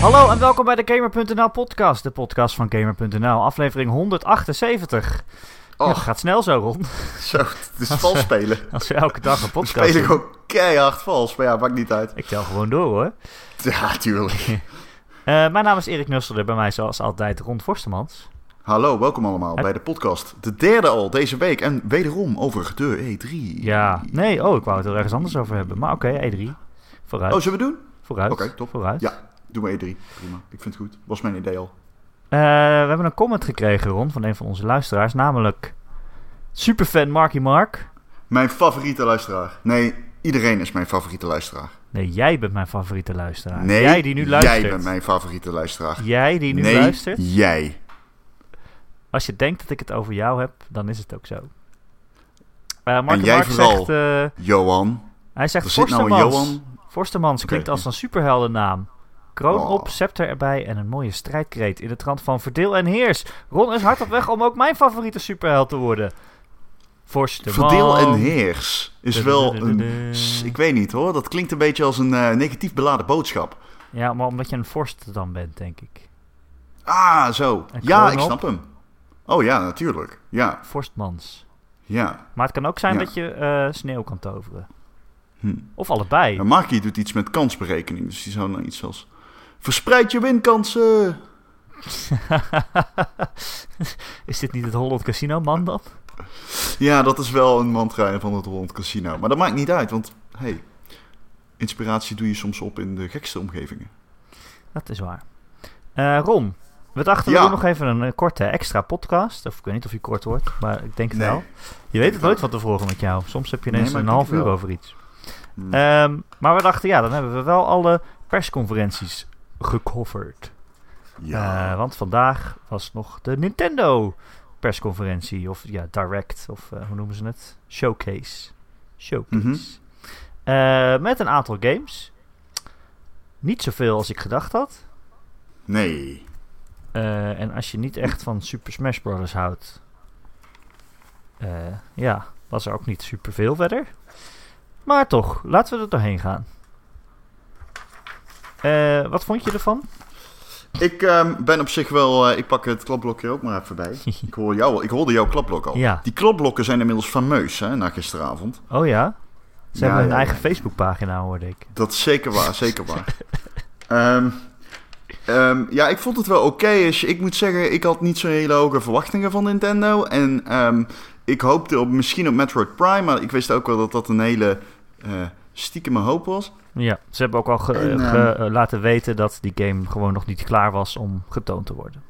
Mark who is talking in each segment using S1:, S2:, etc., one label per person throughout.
S1: Hallo en welkom bij de Gamer.nl podcast, de podcast van Gamer.nl, aflevering 178. Ja,
S2: Oh.
S1: het gaat snel zo, Ron.
S2: Zo, het is vals spelen.
S1: Als we elke dag een
S2: Dan
S1: podcast
S2: speel ik
S1: doen.
S2: ook keihard vals, maar ja, maakt niet uit.
S1: Ik tel gewoon door, hoor.
S2: Ja, tuurlijk.
S1: Eh, mijn naam is Erik Nusselder, bij mij zoals altijd Ron Forstemans.
S2: Hallo, welkom allemaal bij de podcast. De derde al deze week en wederom over de E E3.
S1: Ja, nee, oh, ik wou het er ergens anders over hebben, maar oké, E3. Vooruit,
S2: Oh, zullen we doen?
S1: vooruit,
S2: oké, top.
S1: vooruit.
S2: Ja. Doe maar E3. Prima, ik vind het goed. Was mijn idee al.
S1: Eh, we hebben een comment gekregen, Ron, van een van onze luisteraars, namelijk superfan Marky Mark.
S2: Mijn favoriete luisteraar. Nee, iedereen is mijn favoriete luisteraar.
S1: Nee, jij bent mijn favoriete luisteraar.
S2: Nee,
S1: jij die nu luistert.
S2: jij bent mijn favoriete luisteraar.
S1: Jij die nu
S2: nee,
S1: luistert.
S2: jij.
S1: Als je denkt dat ik het over jou heb, dan is het ook zo. Eh Mark
S2: En jij
S1: Mark
S2: vooral.
S1: zegt, eh,
S2: Johan.
S1: hij
S2: Er
S1: zegt
S2: zit nou een
S1: Forstemans.
S2: Johan.
S1: Forstemans
S2: Oké.
S1: klinkt als een superheldennaam. Kroon
S2: Oh.
S1: op, scepter erbij en een mooie strijdkreet in de trant van verdeel en heers. Ron is hard op weg om ook mijn favoriete superheld te worden. Forstemans.
S2: Verdeel en heers is wel een S- Ik weet niet hoor, dat klinkt een beetje als een eh, negatief beladen boodschap.
S1: Ja, maar omdat je een vorst dan bent, denk ik.
S2: Ah, zo.
S1: En
S2: Ja,
S1: kroon
S2: ik
S1: op.
S2: snap hem. Oh ja, natuurlijk. Ja,
S1: Vorstmans.
S2: ja.
S1: Maar het kan ook zijn
S2: Ja.
S1: dat je eh, sneeuw kan toveren.
S2: Hm.
S1: Of allebei.
S2: En Maki doet iets met kansberekening, dus die zou nou iets als... Verspreid je winkansen!
S1: is dit niet het Holland Casino man dan?
S2: Ja, dat is wel een mantra van het Holland Casino. Maar dat maakt niet uit, want hey, inspiratie doe je soms op in de gekste omgevingen.
S1: Dat is waar. Eh Ron, we dachten
S2: Ja.
S1: we doen nog even een eh, korte extra podcast. Of ik weet niet of je kort wordt, maar ik denk het
S2: Nee.
S1: wel. Je weet het nooit van tevoren met jou. Soms heb je ineens
S2: Nee, maar
S1: een
S2: ik denk
S1: half
S2: het
S1: uur
S2: wel.
S1: over iets.
S2: Hm.
S1: Ehm, maar we dachten, ja, dan hebben we wel alle persconferenties gecoverd.
S2: ja.
S1: Eh, want vandaag was nog de Nintendo persconferentie. Of ja, direct. Of eh, hoe noemen ze het? Showcase. Showcase.
S2: Mhm.
S1: Eh, met een aantal games. Niet zoveel als ik gedacht had.
S2: Nee.
S1: Eh, en als je niet echt van Super Smash Bros. houdt. eh, ja, was er ook niet superveel verder. Maar toch, laten we er doorheen gaan. Eh, wat vond je ervan?
S2: Ik ehm, ben op zich wel... eh, ik pak het klapblokje ook maar even bij. Ik, hoor jou, al- ik hoorde jouw klapblok al.
S1: Ja.
S2: Die klapblokken zijn inmiddels fameus, hè, na gisteravond.
S1: Oh ja? Ze
S2: Ja,
S1: hebben hun
S2: ja,
S1: eigen
S2: ja.
S1: Facebookpagina, hoorde ik.
S2: Dat is zeker waar, zeker waar. Ehm, ehm, ja, ik vond het wel oké. is. ik moet zeggen, ik had niet zo'n hele hoge verwachtingen van Nintendo. En ehm, ik hoopte op, misschien op Metroid Prime, maar ik wist ook wel dat dat een hele eh stiekeme hoop was.
S1: Ja, ze hebben ook al ge-
S2: En,
S1: eh, ge-
S2: ehm,
S1: eh, laten weten dat die game gewoon nog niet klaar was om getoond te worden.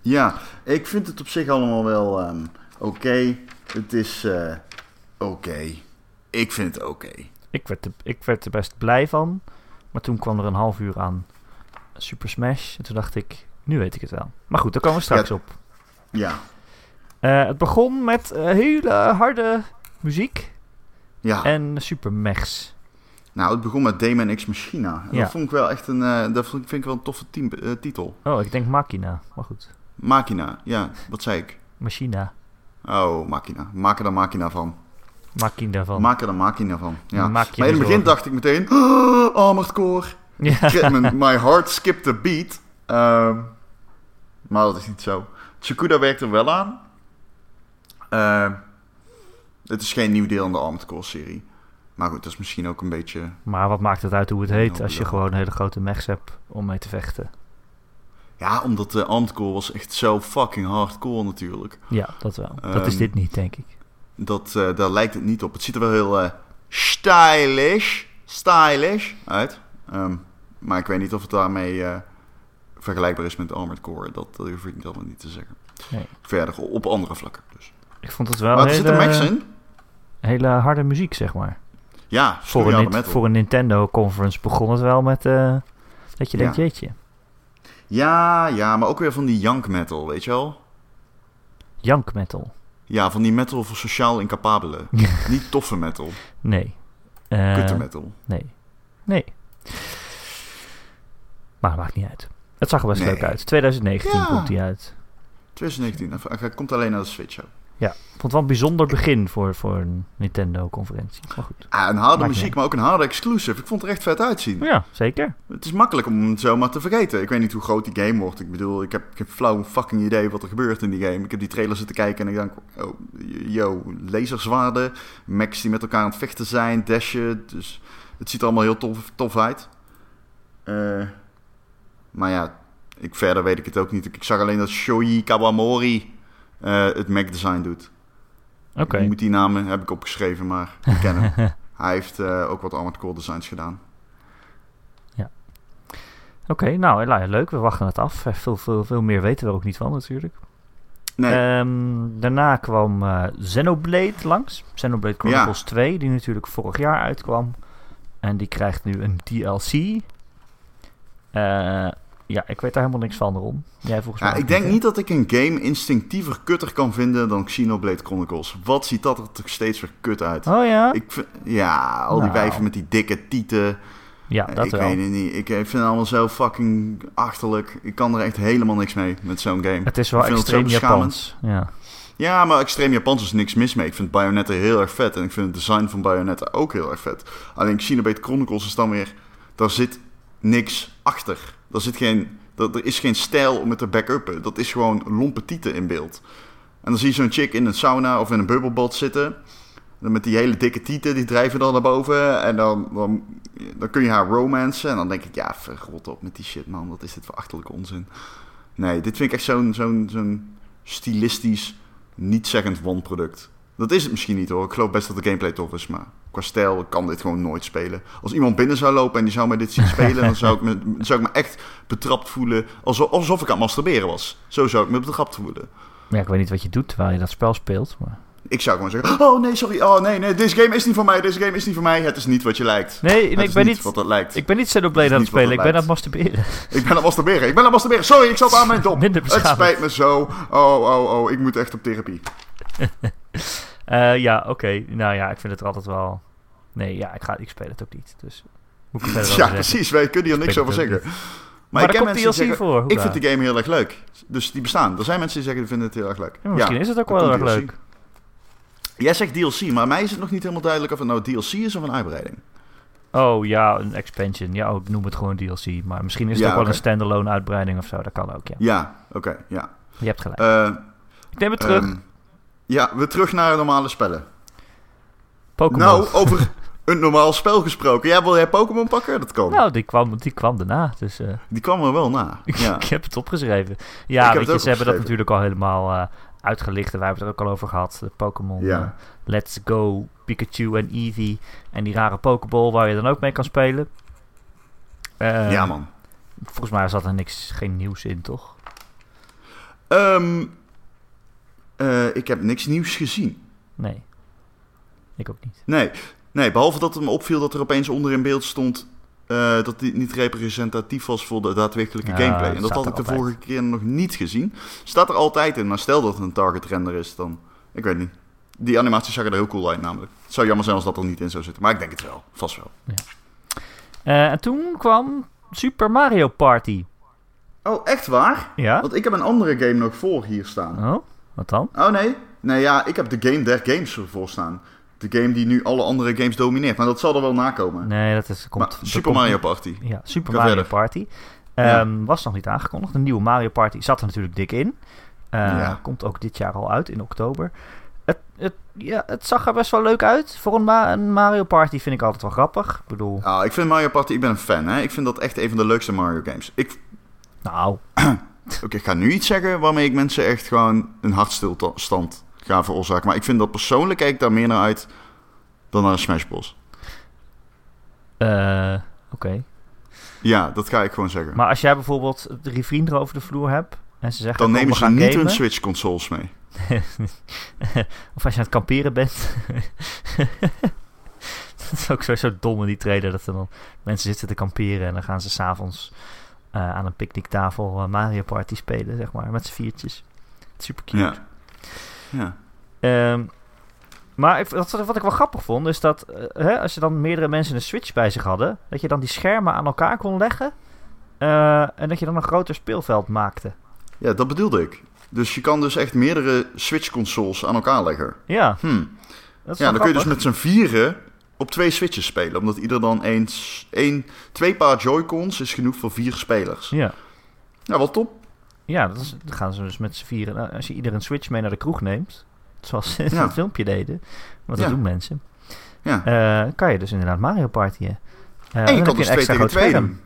S2: Ja, ik vind het op zich allemaal wel ehm, oké. Het is eh, oké. Ik vind het oké.
S1: Ik werd, er, ik werd er best blij van, maar toen kwam er een half uur aan Super Smash en toen dacht ik, nu weet ik het wel. Maar goed, daar komen we straks op.
S2: Ja.
S1: Eh, het begon met eh, hele harde muziek
S2: ja.
S1: en super mechs.
S2: Nou, het begon met Damon X Machina. En
S1: Ja.
S2: Dat vond ik wel echt een, eh, dat vond, ik- vind ik wel een toffe team, eh, titel.
S1: Oh, ik denk Machina, maar goed.
S2: Machina, ja, wat zei ik?
S1: Machina,
S2: Oh, Machina. Maak er dan Machina van.
S1: Machina van.
S2: Maak er dan Machina van. Ja.
S1: Maak je
S2: maar in
S1: geen
S2: het
S1: zorgen.
S2: begin dacht ik meteen... Oh, Armored Core.
S1: ja.
S2: Crit- mijn- My heart skipped the beat. Ehm, maar dat is niet zo. Tsukuda werkt er wel aan. Ehm, het is geen nieuw deel in de Armored Core serie. Maar goed, dat is misschien ook een beetje...
S1: Maar wat maakt het uit hoe het heet als je
S2: Ja.
S1: gewoon hele grote mechs hebt om mee te vechten?
S2: Ja, omdat de Armored Core was echt zo fucking hardcore natuurlijk.
S1: Ja, dat wel. dat is
S2: Ehm,
S1: dit niet, denk ik.
S2: Dat, eh, daar lijkt het niet op. Het ziet er wel heel eh, stylish, stylish uit. Ehm, maar ik weet niet of het daarmee eh, vergelijkbaar is met Armored Core. Dat, dat hoef ik niet allemaal niet te zeggen.
S1: Nee. Nou,
S2: Verder op andere vlakken. Dus.
S1: Ik vond het wel
S2: maar er zit een max
S1: hele,
S2: in.
S1: hele harde muziek, zeg maar.
S2: Ja,
S1: Voor een,
S2: stoeiharde
S1: Nin-
S2: metal.
S1: voor een Nintendo-conference begon het wel met eh, dat je denkt,
S2: Ja.
S1: jeetje,
S2: Ja, ja, maar ook weer van die jank metal, weet je wel?
S1: jank metal.
S2: Ja, van die metal voor sociaal incapabelen. niet toffe metal,
S1: Nee. Eh,
S2: kutte metal.
S1: Nee. Nee. Maar maakt niet uit. Het zag er best
S2: Nee.
S1: leuk uit. 2019
S2: Ja.
S1: komt die uit.
S2: 2019, hij komt alleen naar de Switch. ook.
S1: Ik vond het wel een bijzonder begin voor, voor een Nintendo-conferentie. Maar goed.
S2: Ah, een harde
S1: Maakt
S2: muziek,
S1: niet.
S2: maar ook een harde exclusive. Ik vond het er echt vet uitzien.
S1: Ja, zeker.
S2: Het is makkelijk om het zomaar te vergeten. Ik weet niet hoe groot die game wordt. Ik bedoel, ik heb, ik heb flauw fucking idee wat er gebeurt in die game. Ik heb die trailer zitten kijken en ik denk, oh, yo, laserzwaarden, mechs die met elkaar aan het vechten zijn, dashen. Dus het ziet er allemaal heel tof, tof uit. Eh, maar ja, ik, verder weet ik het ook niet. Ik, ik zag alleen dat Shoei Kawamori eh, het mech design doet.
S1: Oké.
S2: Ik moet die namen, heb ik opgeschreven, maar ik ken hem. Hij heeft eh, ook wat Armored Core designs gedaan.
S1: Oké, nou nou, ja, leuk. We wachten het af. Eh, Veel, veel, veel meer weten we er ook niet van natuurlijk.
S2: Nee,
S1: Ehm, daarna kwam eh, Xenoblade langs. Xenoblade Chronicles 2, die natuurlijk vorig jaar uitkwam. En die krijgt nu een DLC. Eh, ja, ik weet daar helemaal niks van, Ron. Jij volgens
S2: Ja,
S1: mij ook
S2: ik denk
S1: hè?
S2: niet dat ik een game instinctiever kutter kan vinden dan Xenoblade Chronicles. Wat ziet dat er toch steeds weer kut uit?
S1: Oh ja?
S2: Ik vind- ja, al die
S1: Nou.
S2: wijven met die dikke tieten.
S1: ja, dat
S2: ik
S1: wel.
S2: weet het niet. Ik eh, vind het allemaal zo fucking achterlijk. Ik kan er echt helemaal niks mee met zo'n game.
S1: Het is wel
S2: Ik vind het zo
S1: extreem
S2: beschamend.
S1: Japans. Ja.
S2: Ja, maar extreem Japans is niks mis mee. Ik vind Bayonetta heel erg vet. En ik vind het design van Bayonetta ook heel erg vet. Alleen Xenoblade Chronicles is dan weer... Daar zit niks achter. Daar zit geen, daar, er is geen stijl om het te back-uppen. Dat is gewoon lompe tieten in beeld. En dan zie je zo'n chick in een sauna of in een bubbelbad zitten... Dan Met die hele dikke tieten, die drijven dan naar boven. En dan, dan, dan kun je haar romancen. En dan denk ik, ja, verrot op met die shit, man. Wat is dit voor achterlijke onzin? Nee, dit vind ik echt zo'n zo'n zo'n stilistisch, niet-zeggend wanproduct. Dat is het misschien niet, hoor. Ik geloof best dat de gameplay tof is, maar qua stijl kan dit gewoon nooit spelen. Als iemand binnen zou lopen en die zou mij dit zien spelen... dan zou ik me, zou ik me echt betrapt voelen, alsof, alsof ik aan het masturberen was. Zo zou ik me betrapt voelen.
S1: ja, ik weet niet wat je doet terwijl je dat spel speelt. Maar...
S2: Ik zou gewoon zeggen, oh nee, sorry, oh nee, nee, deze game is niet voor mij, deze game is niet voor mij. Het is niet wat je lijkt.
S1: Nee,
S2: Het
S1: nee, ik
S2: is
S1: ben
S2: niet
S1: niet...
S2: wat dat lijkt. Ik,
S1: Ik ben niet Xenoblade
S2: Het
S1: aan
S2: is
S1: het
S2: niet wat
S1: spelen, ik ben
S2: het
S1: aan het masturberen.
S2: ben aan het masturberen, ik ben aan het masturberen. Sorry, ik zat aan mijn dop.
S1: Minder
S2: Het
S1: beschamend.
S2: spijt me zo. Oh, oh, oh, ik moet echt op therapie.
S1: Eh, ja, oké. Nou ja, ik vind het er altijd wel... Nee, ja, ik, ga, ik speel het ook niet. Dus moet ik er verder
S2: ja,
S1: over zeggen.
S2: precies, wij kunnen hier niks
S1: speel
S2: over
S1: het ook
S2: zeggen.
S1: Maar,
S2: ik
S1: daar
S2: ken
S1: komt
S2: mensen die
S1: DLC
S2: zeggen,
S1: voor.
S2: ik
S1: hoera.
S2: vind de game heel erg leuk. Dus die bestaan. Er zijn mensen die zeggen, die vinden het heel erg leuk.
S1: Ja, misschien is het ook
S2: daar
S1: wel erg
S2: komt DLC.
S1: leuk.
S2: Jij zegt DLC, maar mij is het nog niet helemaal duidelijk of het nou DLC is of een uitbreiding.
S1: Oh ja, een expansion. Ja, oh, ik noem het gewoon DLC. Maar misschien is het
S2: Ja,
S1: ook wel
S2: oké.
S1: een standalone uitbreiding of zo. Dat kan ook, ja.
S2: Ja, oké, ja.
S1: Je hebt gelijk.
S2: Eh,
S1: ik neem het terug.
S2: ehm, ja, we terug naar normale spellen.
S1: Pokémon.
S2: Nou,
S1: Nou,
S2: over een normaal spel gesproken. Jij wil jij Pokémon pakken? Dat kan.
S1: die, kwam, die kwam daarna. Dus eh,
S2: Die kwam er wel na. Ja.
S1: Nou. ik heb het opgeschreven.
S2: Ik
S1: Ja,
S2: heb
S1: weet
S2: het
S1: je,
S2: ook
S1: ze hebben dat
S2: opgeschreven.
S1: natuurlijk al helemaal eh, uitgelicht. En wij hebben het er ook al over gehad. De Pokémon
S2: Ja.
S1: eh, Let's Go, Pikachu en Eevee. En die rare Pokéball waar je dan ook mee kan spelen. Eh,
S2: ja, man.
S1: Volgens mij zat er niks, geen nieuws in, toch?
S2: Ehm, eh, ik heb niks nieuws gezien.
S1: Nee. Ik ook niet.
S2: Nee. nee, behalve dat het me opviel dat er opeens onder in beeld stond... eh, dat die niet representatief was voor de daadwerkelijke
S1: Ja,
S2: gameplay. En
S1: dat
S2: dat
S1: staat
S2: had ik
S1: er
S2: de vorige keer nog niet gezien. Staat er altijd in, maar stel dat het een target render is, dan... Ik weet niet. Die animaties zagen er heel cool uit namelijk. Het zou jammer zijn als dat er niet in zou zitten. Maar ik denk het wel. Vast wel.
S1: Eh, en toen kwam Super Mario Party.
S2: Oh, echt waar?
S1: Ja?
S2: Want ik heb een andere game nog voor hier staan.
S1: Oh, wat dan?
S2: Oh nee? Nee ja, ik heb de game der games ervoor staan. De game die nu alle andere games domineert. Maar dat zal er wel nakomen.
S1: Nee, dat is, komt,
S2: Maar
S1: dat
S2: Super
S1: komt-
S2: Mario Party.
S1: Ja, Super
S2: Ga
S1: Mario
S2: verder.
S1: Party.
S2: Ja.
S1: Ehm, Was nog niet aangekondigd. Een nieuwe Mario Party zat er natuurlijk dik in. Eh,
S2: Ja.
S1: Komt ook dit jaar al uit, in oktober. Het, het, ja, het zag er best wel leuk uit. Voor een, ma- een Mario Party vind ik altijd wel grappig. Ik bedoel,
S2: Ah, ik vind Mario Party, ik ben een fan. Hè? Ik vind dat echt een van de leukste Mario games. Ik,
S1: nou,
S2: oké, ik ga nu iets zeggen waarmee ik mensen echt gewoon een hartstilstand ga veroorzaken. Maar ik vind dat persoonlijk kijk ik daar meer naar uit dan naar een Smash Bros.
S1: eh, oké.
S2: Ja, dat ga ik gewoon zeggen.
S1: Maar als jij bijvoorbeeld drie vrienden over de vloer hebt... en ze zeggen,
S2: dan
S1: kom,
S2: nemen
S1: we
S2: ze
S1: gaan
S2: niet
S1: gamen.
S2: hun Switch consoles mee.
S1: of als je aan het kamperen bent. dat is ook sowieso dom in die trailer. Dat er dan mensen zitten te kamperen en dan gaan ze s'avonds eh aan een picknicktafel eh, Mario Party spelen, zeg maar. Met z'n viertjes. Super cute.
S2: Ja. Ja.
S1: Ehm, maar ik, wat, wat ik wel grappig vond, is dat eh, hè, als je dan meerdere mensen een Switch bij zich hadden, dat je dan die schermen aan elkaar kon leggen. eh, en dat je dan een groter speelveld maakte.
S2: ja, dat bedoelde ik. Dus je kan dus echt meerdere Switch-consoles aan elkaar leggen.
S1: Ja,
S2: Hm.
S1: dat is
S2: Ja,
S1: wel
S2: dan kun je dus
S1: grappig.
S2: met z'n vieren op twee Switches spelen. Omdat ieder dan eens, één, twee paar Joy-Cons is genoeg voor vier spelers.
S1: Ja,
S2: Ja, wel top.
S1: ja dat is, dan gaan ze dus met z'n vieren. nou, als je ieder een Switch mee naar de kroeg neemt, zoals ze in
S2: Ja.
S1: het filmpje deden, want dat
S2: Ja.
S1: doen mensen,
S2: Ja.
S1: eh, kan je dus inderdaad Mario Partyen. Eh,
S2: en
S1: dan
S2: je kan
S1: heb
S2: dus
S1: een
S2: twee
S1: extra
S2: tegen
S1: groot
S2: twee
S1: scherm.
S2: doen.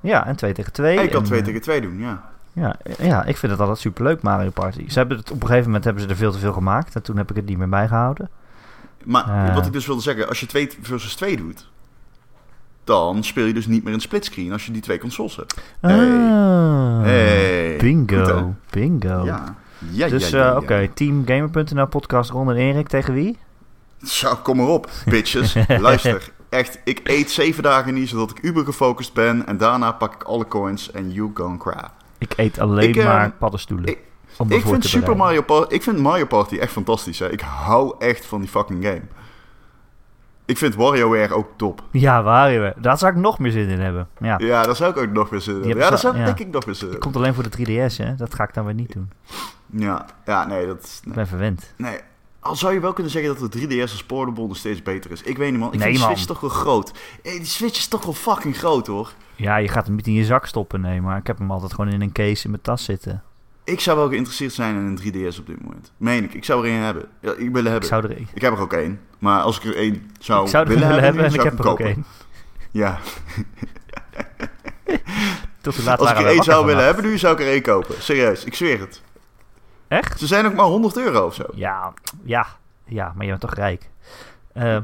S1: Ja, en twee tegen twee.
S2: En je kan
S1: en,
S2: twee
S1: eh,
S2: tegen twee doen, ja.
S1: Ja, ja, ik vind het altijd superleuk, Mario Party. Ze hebben het, op een gegeven moment hebben ze er veel te veel gemaakt. En toen heb ik het niet meer bijgehouden.
S2: Maar
S1: eh.
S2: wat ik dus wilde zeggen, als je twee versus twee doet, dan speel je dus niet meer een splitscreen als je die twee consoles hebt. Hey.
S1: Ah,
S2: Hey.
S1: Bingo.
S2: Goed, hè?
S1: bingo.
S2: Ja. Ja,
S1: dus
S2: ja,
S1: eh,
S2: ja, ja.
S1: oké, teamgamer.nl podcast Ron en Erik tegen wie?
S2: Zo, kom maar op, bitches. Luister, echt, ik eet zeven dagen niet zodat ik uber gefocust ben. En daarna pak ik alle coins en you gone crap.
S1: Ik eet alleen
S2: Ik, eh,
S1: maar paddenstoelen.
S2: ik-
S1: om me
S2: Ik
S1: voor
S2: vind,
S1: te
S2: Super
S1: bereiden.
S2: Mario Party, ik vind Mario Party echt fantastisch. Hè. Ik hou echt van die fucking game. Ik vind WarioWare ook top.
S1: Ja, WarioWare. Daar zou ik nog meer zin in hebben. Ja.
S2: Ja, daar zou ik ook nog weer zitten.
S1: Die hebben
S2: Ja,
S1: ze-
S2: daar zou ik
S1: ja.
S2: denk ik nog eh, weer zitten.
S1: Komt alleen voor de 3DS, hè? Dat ga ik dan weer niet doen.
S2: Ja, ja nee, dat is-
S1: Ik
S2: nee.
S1: ben verwend.
S2: nee. Al zou je wel kunnen zeggen dat de 3DS als portable nog steeds beter is. Ik weet niet, man. Ik
S1: Nee,
S2: vind die
S1: man.
S2: Switch toch wel groot. Eh, Die Switch is toch wel fucking groot, hoor.
S1: Ja, je gaat hem niet in je zak stoppen, nee. Maar ik heb hem altijd gewoon in een case in mijn tas zitten.
S2: Ik zou wel geïnteresseerd zijn in een 3DS op dit moment. Meen ik. Ik zou er een hebben. Ja, ik wil er
S1: Ik
S2: hebben.
S1: zou er, ik
S2: Ik heb er ook één. Maar als ik er één
S1: zou
S2: zou,
S1: er
S2: Nou, willen
S1: willen hebben
S2: dan
S1: en ik
S2: zou
S1: heb
S2: hem
S1: er ook
S2: kopen.
S1: één.
S2: Ja.
S1: Tot hoe laat
S2: Als ik
S1: waren wij
S2: er één
S1: wakker
S2: zou willen
S1: vannacht.
S2: hebben, nu zou ik er één kopen. Serieus, ik zweer het.
S1: Echt?
S2: Ze zijn ook maar 100 euro of zo.
S1: Ja, ja, ja, maar je bent toch rijk. Eh,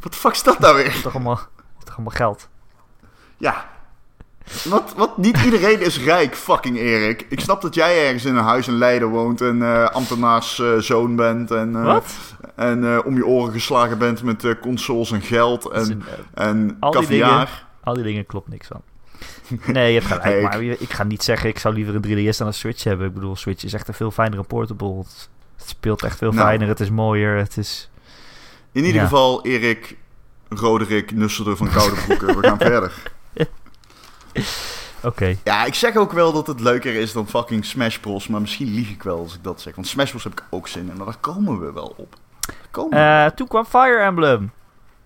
S2: Wat de fuck is dat nou weer?
S1: toch, allemaal, toch allemaal geld.
S2: Ja. Wat, wat, niet iedereen is rijk, fucking Erik. Ik snap dat jij ergens in een huis in Leiden woont en eh ambtenaarszoon bent. En, eh,
S1: Wat?
S2: en eh, om je oren geslagen bent met eh, consoles en geld
S1: Dat is
S2: en,
S1: een, eh,
S2: en
S1: al die
S2: caviar.
S1: al die dingen klopt niks van. Nee, je hebt gelijk.
S2: Nee, ik-
S1: Maar je- ik ga niet zeggen, ik zou liever een 3DS dan een Switch hebben. Ik bedoel, Switch is echt een veel fijnere portable. Het, het speelt echt veel
S2: Nou.
S1: fijner, het is mooier, het is...
S2: In ieder
S1: Ja.
S2: geval, Erik, Roderick, Nusselder van Koude Broeken. We gaan verder.
S1: Oké,
S2: Ja, ik zeg ook wel dat het leuker is dan fucking Smash Bros. Maar misschien lieg ik wel als ik dat zeg. Want Smash Bros heb ik ook zin in. Maar daar komen we wel op. Daar Komen we.
S1: Eh, toen kwam Fire Emblem.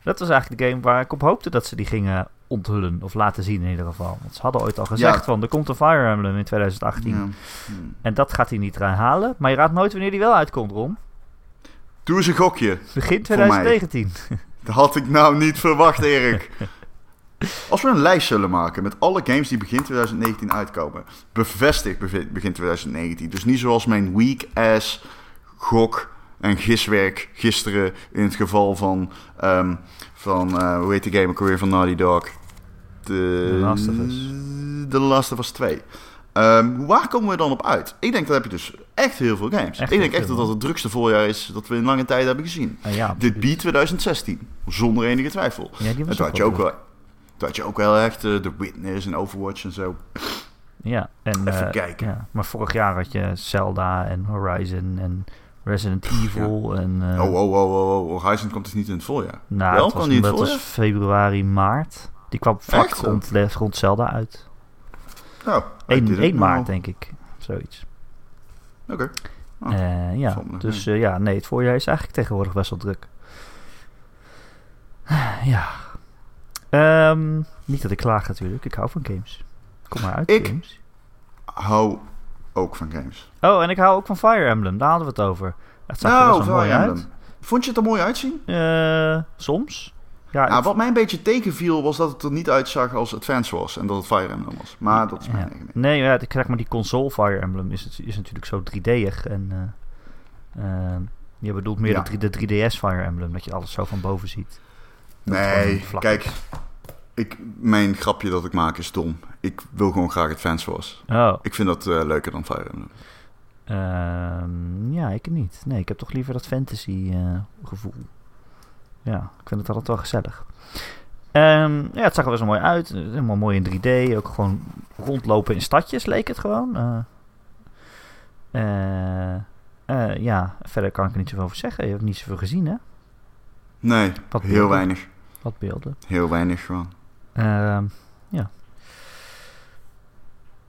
S1: Dat was eigenlijk de game waar ik op hoopte dat ze die gingen onthullen. Of laten zien in ieder geval. Want ze hadden ooit al gezegd
S2: Ja.
S1: van, er komt een Fire Emblem in 2018.
S2: Ja. Hm.
S1: En dat gaat hij niet eraan halen. Maar je raadt nooit wanneer die wel uitkomt, Ron.
S2: Doe eens een gokje.
S1: Begin
S2: Voor mij.
S1: 2019.
S2: Dat had ik nou niet verwacht, Erik. Als we een lijst zullen maken met alle games die begin 2019 uitkomen. Bevestigd beve- begin 2019. Dus niet zoals mijn weak ass gok en giswerk gisteren in het geval van, ehm, van eh, hoe heet die game ook alweer van Naughty Dog? De
S1: The Last of Us.
S2: The Last of Us 2. Ehm, waar komen we dan op uit? Ik denk dat heb je dus echt heel veel games.
S1: Echt
S2: ik denk
S1: heel
S2: echt
S1: veel.
S2: dat dat het drukste voorjaar is dat we in lange tijd hebben gezien.
S1: Ah, ja,
S2: Dit biedt 2016, zonder enige twijfel.
S1: ja, die
S2: En
S1: was
S2: toen had je
S1: wel
S2: ook
S1: goed.
S2: wel, toen had je ook wel echt eh, The Witness en Overwatch en zo.
S1: Ja, en,
S2: Even
S1: eh,
S2: kijken.
S1: ja. Maar vorig jaar had je Zelda en Horizon en Resident Evil. En, eh,
S2: oh, oh, oh, oh, oh, Horizon komt dus niet in het voorjaar.
S1: Nou,
S2: Wel,
S1: dat
S2: kwam
S1: was,
S2: die in het
S1: dat was
S2: voorjaar?
S1: februari, maart. Die kwam vlak
S2: Echt?
S1: rond, rond Zelda uit.
S2: Oh,
S1: 1,
S2: dit-
S1: 1 maart,
S2: oh,
S1: denk ik. Zoiets.
S2: Oké. Oh,
S1: Eh, ja,
S2: valt me nog
S1: dus eh, ja, nee, het voorjaar is eigenlijk tegenwoordig best wel druk. Ja. Ehm, niet dat ik klaag natuurlijk, ik hou van games. Kom maar uit,
S2: Ik-
S1: games.
S2: Hou ook van games.
S1: Oh, en ik hou ook van Fire Emblem. Daar hadden we het over. Het zag er
S2: Nou,
S1: best wel mooi
S2: Fire
S1: uit.
S2: Emblem. Vond je het er mooi uitzien?
S1: Eh, soms. Ja,
S2: Ah,
S1: het-
S2: wat mij een beetje tegenviel was dat het er niet uitzag als Advance was en dat het Fire Emblem was. Maar dat is mijn
S1: Ja.
S2: eigen mening.
S1: Nee, ja, ik krijg maar die console Fire Emblem is, het- is natuurlijk zo 3D'ig. En eh, eh, je bedoelt meer
S2: Ja.
S1: de, 3, de 3DS Fire Emblem, dat je alles zo van boven ziet. Dat het gewoon
S2: Nee,
S1: vlak
S2: kijk,
S1: is.
S2: ik, mijn grapje dat ik maak is dom. Ik wil gewoon graag Advance was.
S1: Oh,
S2: Ik vind dat eh, leuker dan Fire Emblem.
S1: ehm, ja, ik niet. Nee, ik heb toch liever dat fantasy eh, gevoel. Ja, ik vind het altijd wel gezellig. Ehm, ja, het zag er best wel mooi uit. Eh, Helemaal mooi in 3D. Ook gewoon rondlopen in stadjes leek het gewoon. Eh, eh, eh, ja, verder kan ik er niet zoveel over zeggen. Je hebt niet zoveel gezien, hè?
S2: Nee,
S1: Wat
S2: heel
S1: beelden.
S2: weinig.
S1: Wat beelden.
S2: Heel weinig gewoon.
S1: Ehm, ja.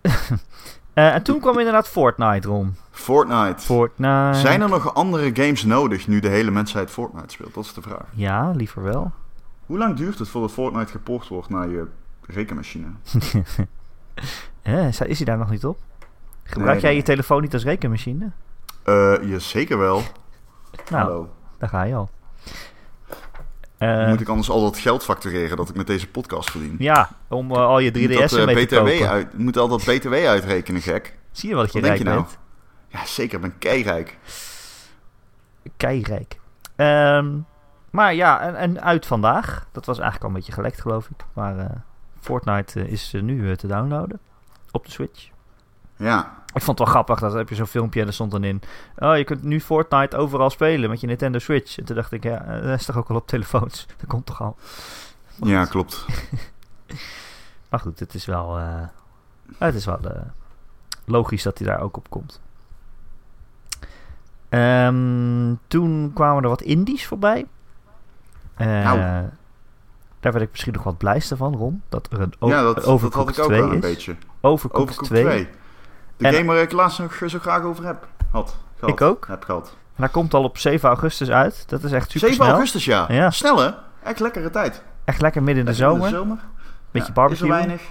S1: Eh, en toen kwam inderdaad Fortnite, Ron.
S2: Fortnite.
S1: Fortnite.
S2: Zijn er nog andere games nodig nu de hele mensheid Fortnite speelt? Dat is de vraag.
S1: Ja, liever wel.
S2: Hoe lang duurt het voordat Fortnite geport wordt naar je rekenmachine?
S1: Eh, is hij daar nog niet op? Gebruik
S2: Nee,
S1: jij
S2: nee.
S1: je telefoon niet als rekenmachine?
S2: Eh ja, zeker wel.
S1: Nou,
S2: Hallo.
S1: daar ga je al. Eh,
S2: Moet ik anders al dat geld factureren dat ik met deze podcast verdien?
S1: Ja, om eh, al je
S2: Moet dat,
S1: 3DS'en
S2: eh,
S1: mee te
S2: BTW
S1: kopen.
S2: uit, moet al dat BTW uitrekenen, gek.
S1: Zie je wel dat je
S2: Wat denk
S1: rijk
S2: je nou?
S1: bent?
S2: Ja, zeker. Ik ben keirijk.
S1: Keirijk. Ehm, maar ja, en, en uit vandaag. Dat was eigenlijk al een beetje gelekt, geloof ik. Maar eh, Fortnite eh, is eh, nu eh, te downloaden op de Switch.
S2: Ja.
S1: Ik vond het wel grappig, dat heb je zo'n filmpje en er stond dan in... Oh, je kunt nu Fortnite overal spelen met je Nintendo Switch. En toen dacht ik, ja, eh, dat is toch ook al op telefoons? Dat komt toch al?
S2: ja, klopt.
S1: Maar goed, het is wel, eh, het is wel eh, logisch dat hij daar ook op komt. Ehm, toen kwamen er wat indies voorbij. Eh,
S2: Nou.
S1: Daar werd ik misschien nog wat blijste van, Ron. Dat er een o-
S2: Ja, dat, dat had
S1: Overcooked
S2: ik ook
S1: 2
S2: wel een
S1: is.
S2: beetje.
S1: Overcooked,
S2: Overcooked
S1: 2.
S2: 2. De
S1: En-
S2: game waar ik laatst nog zo graag over heb. Had. Gehad,
S1: Ik ook.
S2: Heb gehad.
S1: En dat komt al op 7 augustus uit. Dat is echt super
S2: 7 augustus, ja.
S1: Ja.
S2: Snel, hè? Ah, Echt lekkere tijd.
S1: Echt lekker midden in de zomer. Beetje
S2: Ja,
S1: barbecue.
S2: Is er weinig?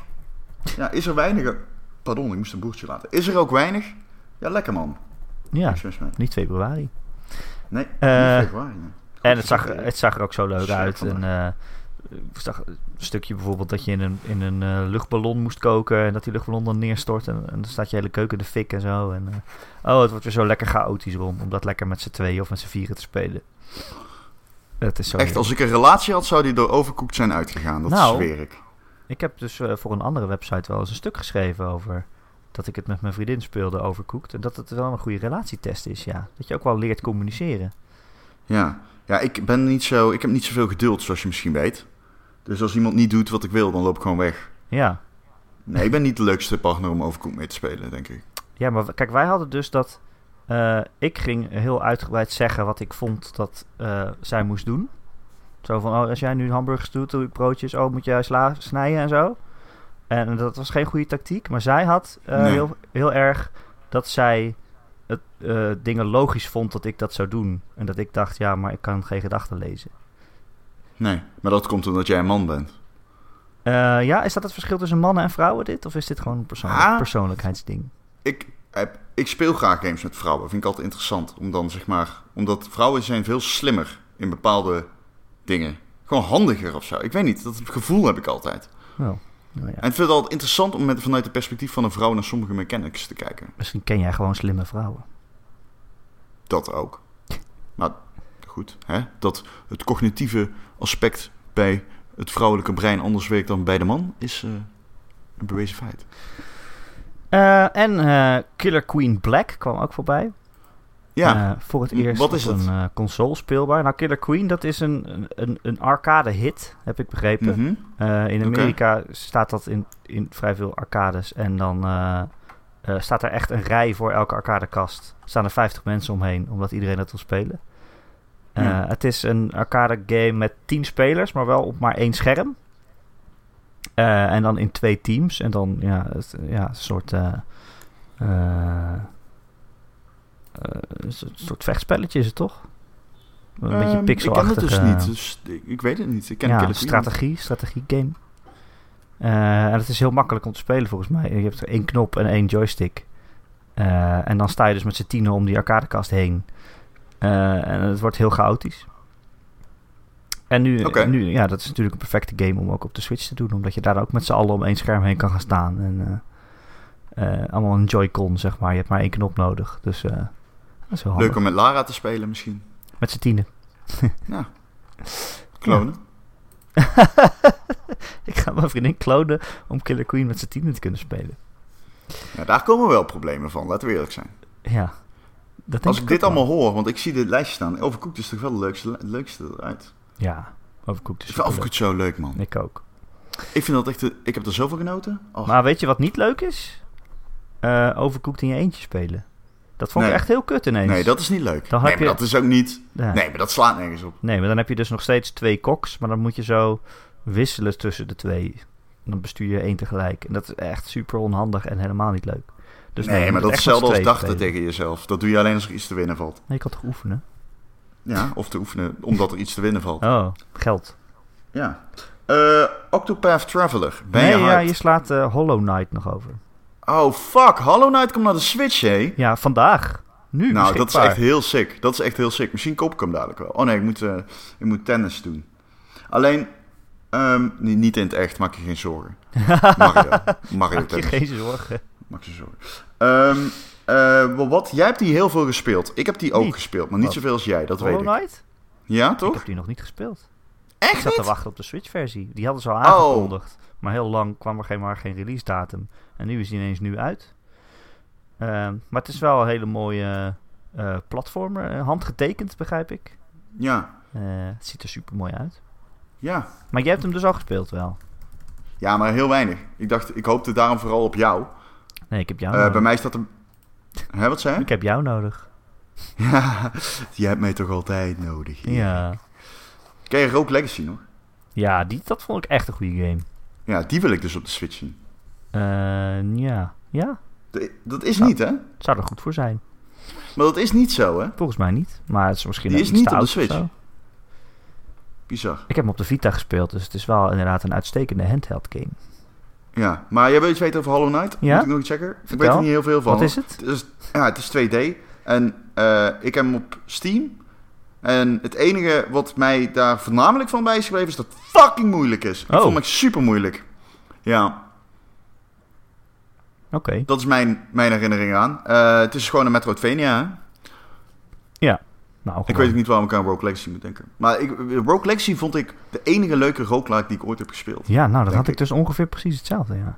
S2: Ja, is er weinig? Eh, Pardon, ik moest een boertje laten. Is er ook weinig? Ja, lekker man.
S1: Ja,
S2: Niks mis mee.
S1: niet februari.
S2: Nee,
S1: Eh,
S2: niet echt waar, nee.
S1: En het zag,
S2: vergeten.
S1: het zag er ook zo leuk
S2: Sterk
S1: uit.
S2: van
S1: En, eh, ik zag een stukje bijvoorbeeld dat je in een, in een eh, luchtballon moest koken. En dat die luchtballon dan neerstort. En, en dan staat je hele keuken in de fik en zo. En, eh, oh, het wordt weer zo lekker chaotisch rond. Om dat lekker met z'n tweeën of met z'n vieren te spelen. Het is zo
S2: Echt, als ik een relatie had, zou die door Overcooked zijn uitgegaan. Dat
S1: Nou.
S2: zweer ik.
S1: Ik heb dus eh, voor een andere website wel eens een stuk geschreven over dat ik het met mijn vriendin speelde overkoekt. En dat het wel een goede relatietest is, ja. Dat je ook wel leert communiceren.
S2: Ja. ja, ik ben niet zo... Ik heb niet zoveel geduld, zoals je misschien weet. Dus als iemand niet doet wat ik wil, dan loop ik gewoon weg.
S1: Ja.
S2: Nee, ik ben niet de leukste partner om Overcooked mee te spelen, denk ik.
S1: Ja, maar w- kijk, wij hadden dus dat. eh, ik ging heel uitgebreid zeggen wat ik vond dat eh, zij moest doen. Zo van, oh, als jij nu hamburgers doet, doe ik broodjes. Oh, moet jij sla snijden en zo. En dat was geen goede tactiek. Maar zij had eh,
S2: Nee.
S1: heel, heel erg dat zij het, eh, dingen logisch vond dat ik dat zou doen. En dat ik dacht, ja, maar ik kan geen gedachten lezen.
S2: Nee, maar dat komt omdat jij een man bent.
S1: Eh, ja, is dat het verschil tussen mannen en vrouwen dit? Of is dit gewoon een persoonlijk-
S2: Ah.
S1: persoonlijkheidsding?
S2: ik, heb- ik speel graag games met vrouwen. Vind ik altijd interessant. Om dan, zeg maar, omdat vrouwen zijn veel slimmer in bepaalde dingen. Gewoon handiger of zo. Ik weet niet. Dat gevoel heb ik altijd.
S1: Wel, nou ja.
S2: En ik vind het altijd interessant om met, vanuit het perspectief van een vrouw naar sommige mechanics te kijken.
S1: Misschien ken jij gewoon slimme vrouwen.
S2: Dat ook. Maar goed, hè? dat het cognitieve aspect bij het vrouwelijke brein anders werkt dan bij de man, is eh, een bewezen feit.
S1: Eh, en eh, Killer Queen Black kwam ook voorbij.
S2: Ja,
S1: Eh, voor het
S2: M-
S1: eerst
S2: wat is
S1: op
S2: het?
S1: een eh, console speelbaar. Nou, Killer Queen, dat is een, een, een arcade hit, heb ik begrepen.
S2: mhm.
S1: Eh, in
S2: Oké.
S1: Amerika staat dat in, in vrij veel arcades. En dan eh, eh, staat er echt een rij voor elke arcadekast. Er staan er 50 mensen omheen, omdat iedereen dat wil spelen. Eh,
S2: Ja.
S1: Het is een arcade game met 10 spelers, maar wel op maar één scherm. Eh, en dan in twee teams. En dan ja, het, ja, een soort, eh, eh, eh, een soort- soort vechtspelletje is het toch? Een beetje
S2: Ehm, Ik ken het
S1: pixelachtig. eh,
S2: dus niet, dus ik, ik weet het niet. Ik ken
S1: ja,
S2: Killer Queen niet.
S1: strategie, strategie game. Eh, en het is heel makkelijk om te spelen volgens mij. Je hebt één knop en één joystick. Eh, en dan sta je dus met z'n tienen om die arcadekast heen. Eh, en het wordt heel chaotisch. En nu,
S2: Oké.
S1: nu, ja, dat is natuurlijk een perfecte game om ook op de Switch te doen. Omdat je daar ook met z'n allen om één scherm heen kan gaan staan. En eh, eh, allemaal een Joy-Con, zeg maar. Je hebt maar één knop nodig. Dus eh, dat is wel handig.
S2: Leuk om met Lara te spelen misschien.
S1: Met z'n tienen.
S2: Klonen.
S1: Ik ga mijn vriendin klonen om Killer Queen met z'n tienen te kunnen spelen.
S2: Ja. daar komen wel problemen van, laten we eerlijk zijn.
S1: Ja. Dat denk
S2: Als ik dit
S1: ook wel.
S2: allemaal hoor, want ik zie dit lijstje staan. Overcooked is toch wel het leukste, het leukste eruit.
S1: Ja, overkoekt
S2: Ik
S1: is
S2: vind
S1: ook leuk.
S2: Overcooked zo leuk, man.
S1: Ik ook.
S2: Ik vind dat echt... de- Ik heb er zoveel genoten. Och,
S1: Maar weet je wat niet leuk is? Eh overkoekt in je eentje spelen. Dat vond ik
S2: Nee.
S1: echt heel kut ineens.
S2: nee, dat is niet leuk.
S1: Dan
S2: nee,
S1: heb
S2: maar
S1: je-
S2: dat is ook niet...
S1: Ja.
S2: Nee, maar dat slaat nergens op.
S1: Nee, maar dan heb je dus nog steeds twee koks. Maar dan moet je zo wisselen tussen de twee. En dan bestuur je één tegelijk. En dat is echt super onhandig en helemaal niet leuk. Dus
S2: nee,
S1: je
S2: maar
S1: moet
S2: dat is
S1: echt met
S2: hetzelfde als
S1: z'n tweeën
S2: dachten
S1: spelen.
S2: tegen jezelf. Dat doe je alleen als er iets te winnen valt.
S1: Nee, ik had toch oefenen?
S2: Ja, of te oefenen omdat er iets te winnen valt.
S1: Oh, geld.
S2: Ja. Eh, Octopath Traveler. Ben
S1: nee,
S2: je
S1: ja,
S2: hard?
S1: je slaat eh, Hollow Knight nog over.
S2: Oh, fuck. Hollow Knight komt naar de Switch, hé.
S1: Ja, vandaag. Nu
S2: Nou, dat is
S1: beschikbaar.
S2: echt heel sick. Dat is echt heel sick. Misschien koop ik hem dadelijk wel. Oh nee, ik moet, eh, ik moet tennis doen. Alleen, ehm, nee, niet in het echt, maak je geen zorgen. Mario. Mario
S1: Maak je
S2: tennis.
S1: geen zorgen.
S2: Maak je zorgen. Ehm, eh, wel wat? Jij hebt die heel veel gespeeld. Ik heb die ook
S1: Niet.
S2: gespeeld, maar niet
S1: Wat?
S2: zoveel als jij, dat
S1: Hollow
S2: weet ik.
S1: Knight?
S2: Ja,
S1: Ik
S2: toch?
S1: heb die nog niet gespeeld. Ik
S2: Echt
S1: zat te
S2: niet? Oh.
S1: wachten op de Switch-versie. Die hadden ze al aangekondigd. Maar heel lang kwam er geen, maar geen release-datum. En nu is die ineens nu uit. Ehm, maar het is wel een hele mooie eh, platformer. Eh, handgetekend, begrijp ik.
S2: Ja,
S1: Eh, het ziet er super mooi uit.
S2: ja.
S1: Maar jij hebt hem dus al gespeeld wel.
S2: Ja, maar heel weinig. Ik dacht, ik hoopte daarom vooral op jou.
S1: Nee, ik heb jou
S2: Eh,
S1: nodig.
S2: bij mij staat een... Hè, wat zei je?
S1: Ik heb jou nodig.
S2: Ja, je hebt mij toch altijd nodig.
S1: Ja.
S2: Ken je Rogue Legacy nog?
S1: Ja, die, dat vond ik echt een goede game.
S2: Ja, die wil ik dus op de Switch zien.
S1: Eh, ja. Ja,
S2: De- Dat is
S1: Ja.
S2: niet, hè?
S1: het zou er goed voor zijn.
S2: Maar dat is niet zo, hè?
S1: Volgens mij niet. Maar het is misschien
S2: Die
S1: ook
S2: is
S1: iets
S2: niet
S1: te
S2: op de
S1: oud of
S2: Switch.
S1: zo.
S2: Bizar.
S1: Ik heb hem op de Vita gespeeld, dus het is wel inderdaad een uitstekende handheld game.
S2: Ja, maar jij wil iets weten over Hollow Knight?
S1: Ja?
S2: Moet ik nog iets checken? Ik
S1: Vertel.
S2: weet er niet heel veel van.
S1: Wat is het?
S2: Het is, ja, het is 2D. En eh, ik heb hem op Steam. En het enige wat mij daar voornamelijk van bij is gebleven... is dat het fucking moeilijk is. Ik
S1: Oh.
S2: vond het super moeilijk. Ja,
S1: Oké.
S2: Dat is mijn, mijn herinnering aan. Eh, het is gewoon een Metroidvania. Hè?
S1: Nou,
S2: Ik
S1: gewoon.
S2: weet ook niet waarom ik aan Rogue Legacy moet denken. Maar ik, Rogue Legacy vond ik de enige leuke roguelike die ik ooit heb gespeeld.
S1: Ja, nou, dat
S2: Denk
S1: had ik
S2: ik.
S1: dus ongeveer precies hetzelfde, ja.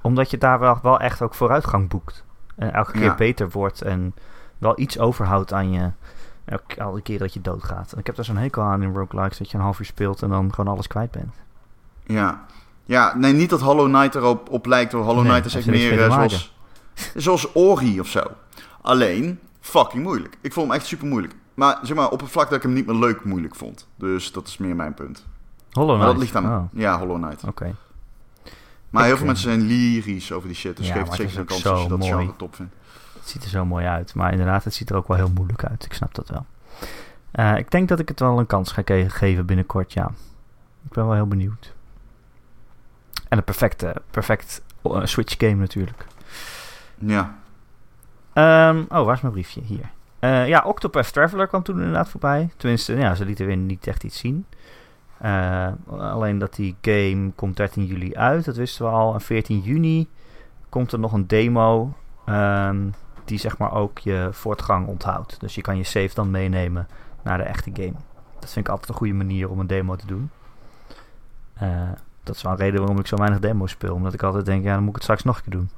S1: Omdat je daar wel, wel echt ook vooruitgang boekt. En elke keer
S2: Ja.
S1: beter wordt en wel iets overhoudt aan je... elk- Elke keer dat je doodgaat. En ik heb daar zo'n hekel aan in roguelikes, dat je een half uur speelt en dan gewoon alles kwijt bent.
S2: Ja. Ja, nee, niet dat Hollow Knight erop op lijkt. Hoor. Hollow
S1: Nee,
S2: Knight is
S1: hij
S2: echt
S1: heeft er
S2: meer
S1: niks
S2: eh,
S1: mee te
S2: zoals, zoals Ori of zo. Alleen, fucking moeilijk. Ik vond hem echt super moeilijk. Maar zeg maar, op een vlak dat ik hem niet meer leuk moeilijk vond. Dus dat is meer mijn punt.
S1: Hollow
S2: Maar
S1: Knight.
S2: dat ligt aan
S1: Oh,
S2: Ja, Hollow Knight.
S1: Oké.
S2: Maar heel
S1: Ik,
S2: veel
S1: eh,
S2: mensen zijn lyrisch over die shit. Dus
S1: Ja,
S2: geef het
S1: maar het is
S2: zeker een
S1: ook
S2: kans
S1: zo
S2: als je dat
S1: mooi.
S2: genre top vindt.
S1: Het ziet er zo mooi uit, maar inderdaad, het ziet er ook wel heel moeilijk uit. Ik snap dat wel. Eh, ik denk dat ik het wel een kans ga ke- geven binnenkort, ja. Ik ben wel heel benieuwd. En een perfecte, perfect eh, Switch game natuurlijk.
S2: Ja.
S1: Ehm, oh, waar is mijn briefje? Hier. Eh, ja, Octopath Traveler kwam toen inderdaad voorbij. Tenminste, ja, ze lieten weer niet echt iets zien. Eh, alleen dat die game komt 13 juli uit, dat wisten we al. En 14 juni komt er nog een demo ehm, die zeg maar ook je voortgang onthoudt. Dus je kan je save dan meenemen naar de echte game. Dat vind ik altijd een goede manier om een demo te doen. Eh, dat is wel een reden waarom ik zo weinig demo's speel. Omdat ik altijd denk, ja, dan moet ik het straks nog een keer doen.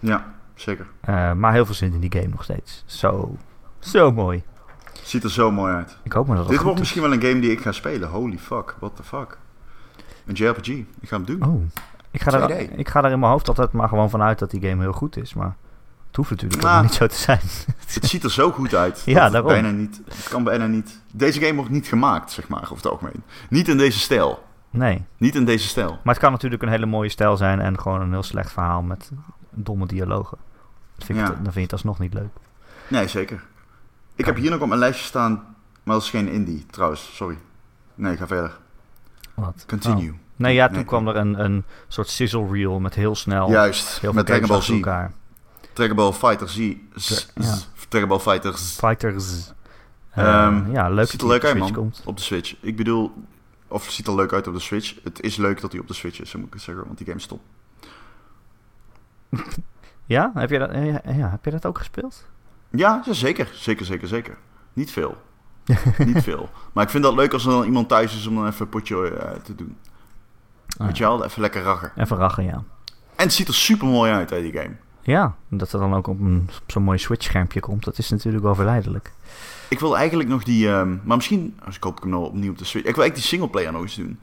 S2: Ja, zeker.
S1: Eh, maar heel veel zin in die game nog steeds. Zo, zo mooi.
S2: Ziet er zo mooi uit.
S1: Ik hoop maar dat het
S2: Dit
S1: goed
S2: wordt misschien wel een game die ik ga spelen. Holy fuck, what the fuck. Een JRPG, ik ga hem doen.
S1: is. Oh, ik ga, daar,
S2: 2D.
S1: ik ga daar in mijn hoofd altijd maar gewoon vanuit dat die game heel goed is. Maar het hoeft natuurlijk
S2: Ah.
S1: helemaal niet zo te zijn.
S2: Het ziet er zo goed uit.
S1: Ja,
S2: dat het
S1: daarom.
S2: Bijna niet, het kan bijna niet. Deze game wordt niet gemaakt, zeg maar, over het algemeen. Niet in deze stijl.
S1: Nee,
S2: Niet in deze stijl.
S1: maar het kan natuurlijk een hele mooie stijl zijn en gewoon een heel slecht verhaal met domme dialogen. Dat vind ik
S2: Ja.
S1: het- dan vind je het alsnog niet leuk.
S2: Nee, zeker. Ik
S1: Kan.
S2: heb hier nog op mijn lijstje staan, maar dat is geen indie, trouwens. Sorry. Nee, ga verder.
S1: Wat?
S2: Continue.
S1: Nee, ja, toen
S2: Nee.
S1: kwam er een, een soort sizzle reel met heel snel
S2: Juist,
S1: heel
S2: met Dragon
S1: games
S2: Ball
S1: achter
S2: Z.
S1: elkaar.
S2: Dragon Ball Fighter Z. Z-
S1: Ja.
S2: Z- Dragon Ball Fighter Z.
S1: Fighters. Eh,
S2: Ehm,
S1: ja, leuk
S2: ziet
S1: dat die
S2: er leuk
S1: op de
S2: uit,
S1: Switch
S2: man.
S1: komt.
S2: Op de Switch. Ik bedoel, of het ziet er leuk uit op de Switch. Het is leuk dat hij op de Switch is, zo moet ik het zeggen, want die game is top.
S1: Ja? Heb je dat, eh, ja, ja, heb je dat ook gespeeld?
S2: Ja, ja, zeker. Zeker, zeker, zeker. Niet veel. Niet veel. Maar ik vind dat leuk als er dan iemand thuis is om dan even een potje eh, te doen.
S1: Ah.
S2: Weet je wel, even lekker rager.
S1: Even rachen, ja.
S2: En het ziet er super mooi uit, hè, die game.
S1: Ja, dat het dan ook op, een- op zo'n mooi Switch-schermpje komt, dat is natuurlijk wel verleidelijk.
S2: Ik wil eigenlijk nog die... ehm, maar misschien als koop ik hem nou opnieuw op de Switch. Ik wil eigenlijk die singleplayer nog eens doen.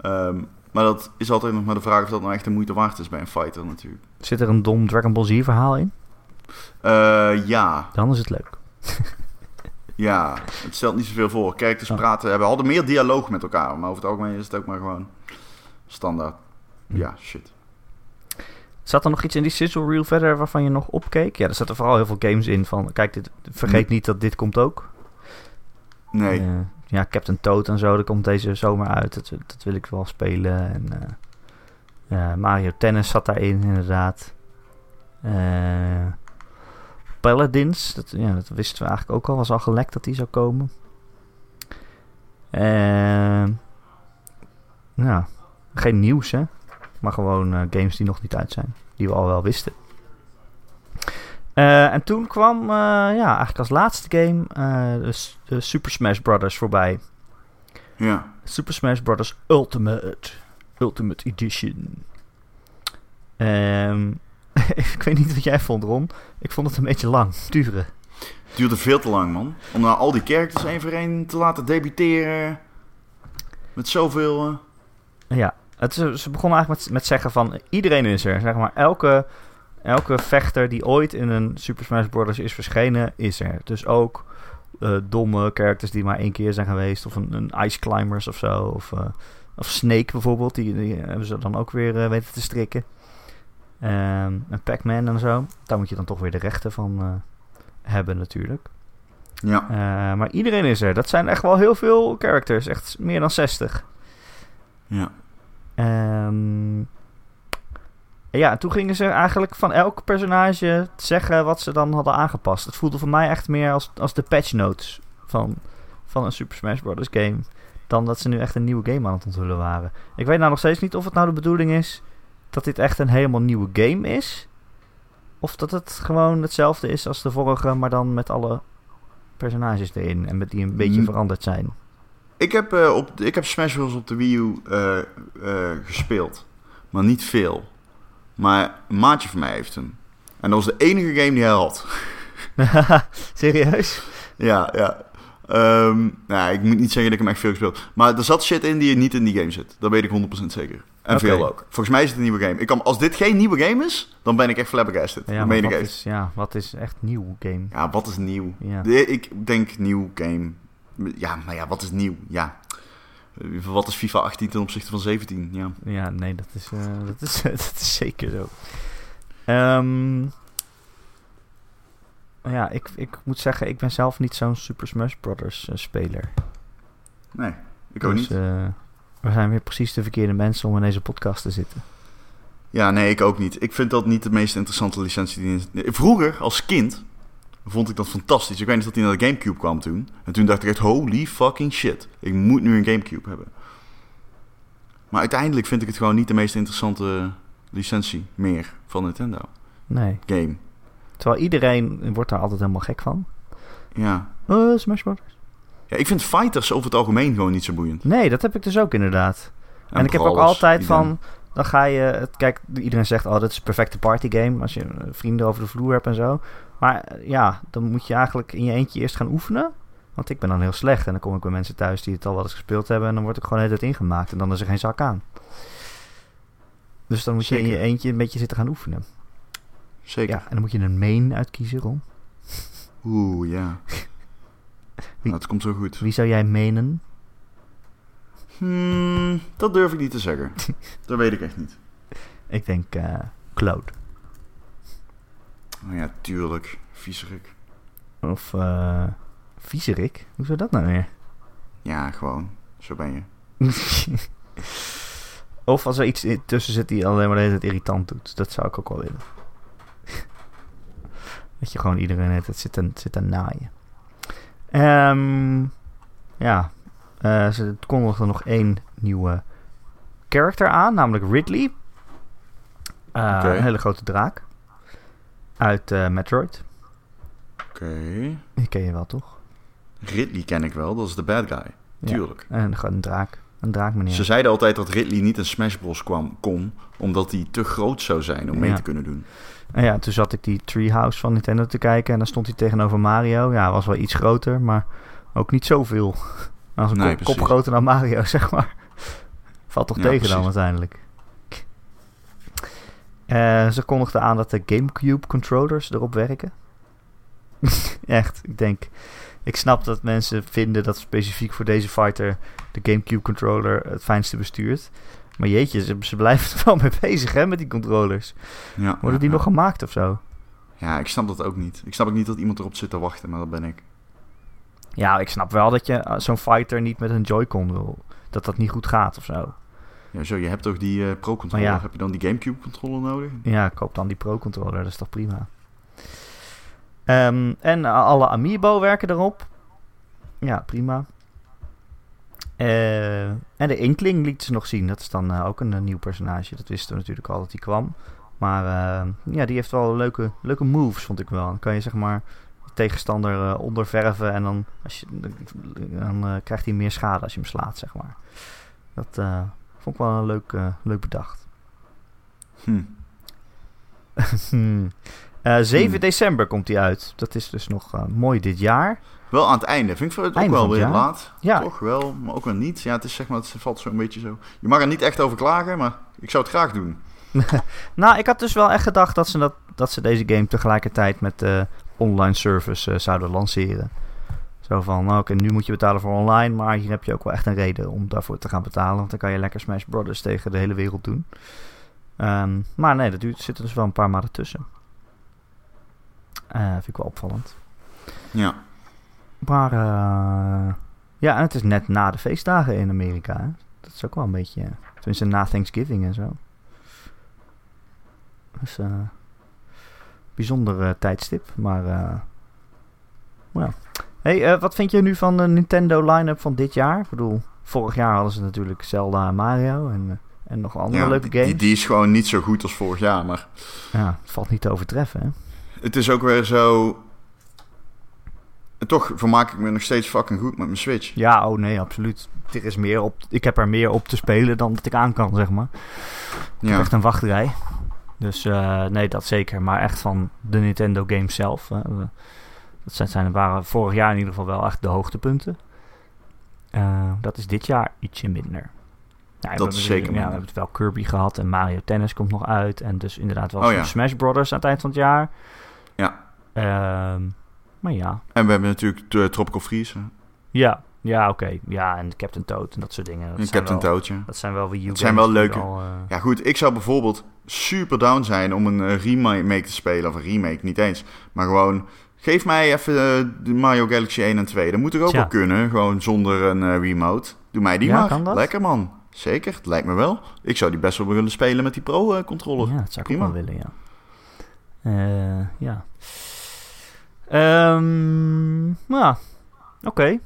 S2: Ehm, maar dat is altijd nog maar de vraag of dat nou echt de moeite waard is bij een fighter natuurlijk.
S1: Zit er een dom Dragon Ball Z-verhaal in?
S2: Eh, ja,
S1: Dan is het leuk.
S2: Ja, het stelt niet zoveel voor. Characters
S1: Oh.
S2: praten, we hadden meer dialoog met elkaar, maar over het algemeen is het ook maar gewoon standaard. Ja, shit.
S1: Zat er nog iets in die sizzle reel verder waarvan je nog opkeek? Ja, er zaten vooral heel veel games in van... Kijk, dit, vergeet niet dat dit komt ook.
S2: Nee.
S1: Eh, ja, Captain Toad en zo, dat komt deze zomer uit. Dat, dat wil ik wel spelen. En, eh, eh, Mario Tennis zat daarin, inderdaad. Eh, Paladins, dat, ja, dat wisten we eigenlijk ook al. Was al gelekt dat die zou komen. Eh, ja, geen nieuws hè. Maar gewoon eh, games die nog niet uit zijn. Die we al wel wisten. Eh, en toen kwam eh, ja, eigenlijk als laatste game eh, de S- de Super Smash Bros. voorbij.
S2: Ja.
S1: Super Smash Bros. Ultimate. Ultimate Edition. Ehm, ik weet niet wat jij vond, Ron. Ik vond het een beetje lang duren.
S2: Het duurde veel te lang, man. Om nou al die characters één voor één te laten debuteren. Met zoveel... eh,
S1: Ja, het, is- ze begonnen eigenlijk met, met zeggen van iedereen is er. Zeg maar, elke, elke vechter die ooit in een Super Smash Bros. is verschenen, is er. Dus ook eh, domme characters die maar één keer zijn geweest. Of een, een Ice Climbers of zo. Of, eh, of Snake bijvoorbeeld. Die, die hebben ze dan ook weer eh, weten te strikken. Ehm een Pac-Man en zo. Daar moet je dan toch weer de rechten van eh, hebben natuurlijk.
S2: ja.
S1: Eh, maar iedereen is er. Dat zijn echt wel heel veel characters. Echt meer dan 60.
S2: Ja.
S1: Ehm, ja, en toen gingen ze eigenlijk van elk personage zeggen wat ze dan hadden aangepast. Het voelde voor mij echt meer als, als de patch notes van, van een Super Smash Bros. game. Dan dat ze nu echt een nieuwe game aan het onthullen waren. Ik weet nou nog steeds niet of het nou de bedoeling is dat dit echt een helemaal nieuwe game is. Of dat het gewoon hetzelfde is als de vorige, maar dan met alle personages erin. En met die een beetje
S2: Hmm.
S1: veranderd zijn.
S2: Ik heb, eh, op, ik heb Smash Bros. op de Wii U eh, eh, gespeeld. Maar niet veel. Maar een maatje van mij heeft hem. En dat was de enige game die hij had.
S1: Serieus?
S2: ja, ja. Ehm, nou, ik moet niet zeggen dat ik hem echt veel gespeeld Maar er zat shit in die niet in die game zit. Dat weet ik 100% zeker. En
S1: Oké.
S2: veel ook. Volgens mij is het een nieuwe game. Ik kan, als dit geen nieuwe game is, dan ben ik echt flabbergasted.
S1: Ja,
S2: dat
S1: maar
S2: meen ik
S1: wat
S2: even.
S1: is, ja, wat is echt nieuw game?
S2: Ja, wat is nieuw?
S1: Ja.
S2: De- Ik denk nieuw game. Ja, maar ja, wat is nieuw? Ja. Eh, Wat is FIFA 18 ten opzichte van 17? Ja.
S1: Ja, nee, dat is, eh, dat is, dat is zeker zo. Ehm, ja, ik, ik moet zeggen, ik ben zelf niet zo'n Super Smash Brothers eh, speler.
S2: Nee, ik ook
S1: dus,
S2: niet.
S1: eh, we zijn weer precies de verkeerde mensen om in deze podcast te zitten.
S2: Ja, nee, ik ook niet. Ik vind dat niet de meest interessante licentie. Die... in- Vroeger, als kind, vond ik dat fantastisch. Ik weet niet dat die naar de Gamecube kwam toen. En toen dacht ik echt, holy fucking shit. Ik moet nu een Gamecube hebben. Maar uiteindelijk vind ik het gewoon niet de meest interessante licentie meer van Nintendo.
S1: Nee.
S2: Game.
S1: Terwijl iedereen wordt daar altijd helemaal gek van.
S2: Ja.
S1: Eh, Smash Brothers?
S2: ja. Ik vind fighters over het algemeen gewoon niet zo boeiend.
S1: Nee, dat heb ik dus ook inderdaad. En, ik heb ook
S2: brawlers,
S1: altijd
S2: die
S1: van, dan ga je, het- kijk, iedereen zegt, oh, dit is een perfecte partygame als je eh, vrienden over de vloer hebt en zo. Maar eh, ja, dan moet je eigenlijk in je eentje eerst gaan oefenen. Want ik ben dan heel slecht en dan kom ik bij mensen thuis die het al wel eens gespeeld hebben en dan word ik gewoon de hele tijd ingemaakt en dan is er geen zak aan. Dus dan moet je in
S2: Zeker.
S1: je eentje een beetje zitten gaan oefenen.
S2: Zeker.
S1: Ja, en dan moet je een main uitkiezen, Ron.
S2: Oeh, ja. Nou, het komt zo goed.
S1: Wie zou jij menen?
S2: Hmm, dat durf ik niet te zeggen. dat weet ik echt niet.
S1: Ik denk eh Cloud.
S2: Oh ja, tuurlijk. Viezerik.
S1: Of eh Viezerik. Hoe zou dat nou weer?
S2: Ja, gewoon. Zo ben je.
S1: of als er iets in- tussen zit die alleen maar de hele tijd irritant doet. Dat zou ik ook wel willen. dat je gewoon iedereen de hele tijd zit te, zit te naaien. Ehm, ja. Eh ze kondigden nog één nieuwe character aan. Namelijk Ridley. Eh,
S2: Oké.
S1: Een hele grote draak. Uit eh, Metroid.
S2: Oké.
S1: Die ken je wel, toch?
S2: Ridley ken ik wel, dat is de bad guy.
S1: Ja.
S2: Tuurlijk.
S1: Een, een draak. Een draak, meneer.
S2: Ze zeiden altijd dat Ridley niet in Smash Bros. kwam, kon, omdat hij te groot zou zijn om mee
S1: Ja.
S2: te kunnen doen.
S1: En ja, toen zat ik die Treehouse van Nintendo te kijken en dan stond hij tegenover Mario. Ja, hij was wel iets groter, maar ook niet zoveel. Hij was een
S2: Nee,
S1: kop, kop
S2: precies.
S1: groter dan Mario, zeg maar. Valt toch
S2: Ja,
S1: tegen dan
S2: precies.
S1: uiteindelijk. Eh, ze kondigden aan dat de GameCube controllers erop werken. Echt, ik denk. Ik snap dat mensen vinden dat specifiek voor deze fighter de GameCube controller het fijnste bestuurt. Maar jeetje, ze, ze blijven er wel mee bezig hè, met die controllers.
S2: Ja,
S1: Worden die
S2: ja,
S1: nog gemaakt of zo?
S2: ja. Ja, ik snap dat ook niet. Ik snap ook niet dat iemand erop zit te wachten, maar dat ben ik.
S1: Ja, ik snap wel dat je eh, zo'n fighter niet met een Joy-Con wil. Dat dat niet goed gaat of zo.
S2: Ja, zo, je hebt toch die eh, pro-controller,
S1: Maar Oh ja.
S2: heb je dan die Gamecube-controller nodig?
S1: Ja, koop dan die Pro-controller, dat is toch prima. Ehm, en a- alle Amiibo werken erop. Ja, prima. Eh, en de Inkling liet ze nog zien. Dat is dan eh, ook een, eh, nieuw personage. Dat wisten we natuurlijk al dat die kwam. Maar eh, ja, die heeft wel leuke, leuke moves, vond ik wel. Dan kan je zeg maar de tegenstander eh, onderverven. En dan, als je, dan eh, krijgt hij meer schade als je hem slaat, zeg maar. Dat eh, vond ik wel een leuk, eh, leuk bedacht.
S2: Hm.
S1: Hmm. Eh, 7
S2: Hmm.
S1: december komt die uit. Dat is dus nog eh, mooi dit jaar.
S2: Wel aan het einde. Vind ik het ook
S1: Einde
S2: wel
S1: van het
S2: weer
S1: jaar.
S2: laat.
S1: Ja,
S2: Toch wel, maar ook wel niet. Ja, het is zeg maar, het valt zo'n beetje zo. Je mag er niet echt over klagen, maar ik zou het graag doen.
S1: nou, ik had dus wel echt gedacht dat ze, dat, dat ze deze game tegelijkertijd met eh, online service eh, zouden lanceren. Zo van, nou, oké, nu moet je betalen voor online, maar hier heb je ook wel echt een reden om daarvoor te gaan betalen. Want dan kan je lekker Smash Brothers tegen de hele wereld doen. Ehm, maar nee, dat duurt, zitten dus wel een paar maanden tussen. Eh, vind ik wel opvallend.
S2: Ja.
S1: Maar eh, ja, en het is net na de feestdagen in Amerika. Hè? Dat is ook wel een beetje. eh, Tenminste, na Thanksgiving en zo. Dus eh bijzonder eh, tijdstip. Maar eh nou ja. Hey, eh, wat vind je nu van de Nintendo line-up van dit jaar? Ik bedoel, vorig jaar hadden ze natuurlijk Zelda en Mario en, eh, en nog andere
S2: Ja,
S1: leuke
S2: die,
S1: games.
S2: die, die is gewoon niet zo goed als vorig jaar, maar
S1: Ja, het valt niet te overtreffen, hè?
S2: het is ook weer zo... En Toch vermaak ik me nog steeds fucking goed met mijn Switch.
S1: Ja, oh nee, absoluut. Er is meer op, ik heb er meer op te spelen dan dat ik aan kan, zeg maar.
S2: Ja.
S1: Echt een wachtrij. Dus eh, nee, dat zeker. Maar echt van de Nintendo games zelf. hè. We- dat zijn, zijn, waren vorig jaar in ieder geval wel echt de hoogtepunten. Eh, dat is dit jaar ietsje minder. Nou, we hebben
S2: is
S1: dus-
S2: zeker
S1: Ja, we
S2: minder.
S1: hebben het wel Kirby gehad en Mario Tennis komt nog uit. En dus inderdaad wel
S2: Oh ja.
S1: Smash Brothers aan het eind van het jaar.
S2: Ja.
S1: Ehm, maar ja.
S2: En we hebben natuurlijk de Tropical Freeze. hè.
S1: Ja, ja oké. Ja, en Captain Toad en dat soort dingen. Dat
S2: En
S1: zijn
S2: Captain
S1: wel-
S2: Toadje.
S1: Dat zijn wel Wii U
S2: Het zijn
S1: games
S2: wel
S1: die
S2: leuke-
S1: al, eh,
S2: Ja goed, ik zou bijvoorbeeld super down zijn om een eh, remake te spelen. Of een remake, niet eens. Maar gewoon, geef mij even eh, de Mario Galaxy 1 en 2. Dat moet er ook
S1: Tja.
S2: wel kunnen, gewoon zonder een eh, remote. Doe mij die
S1: Ja,
S2: maar.
S1: kan dat?
S2: Lekker man. Zeker, het lijkt me wel. Ik zou die best wel willen spelen met die Pro-controller.
S1: Ja, dat zou ik ook
S2: Prima.
S1: wel willen, ja. Eh, ja. Ehm, nou, ja. oké.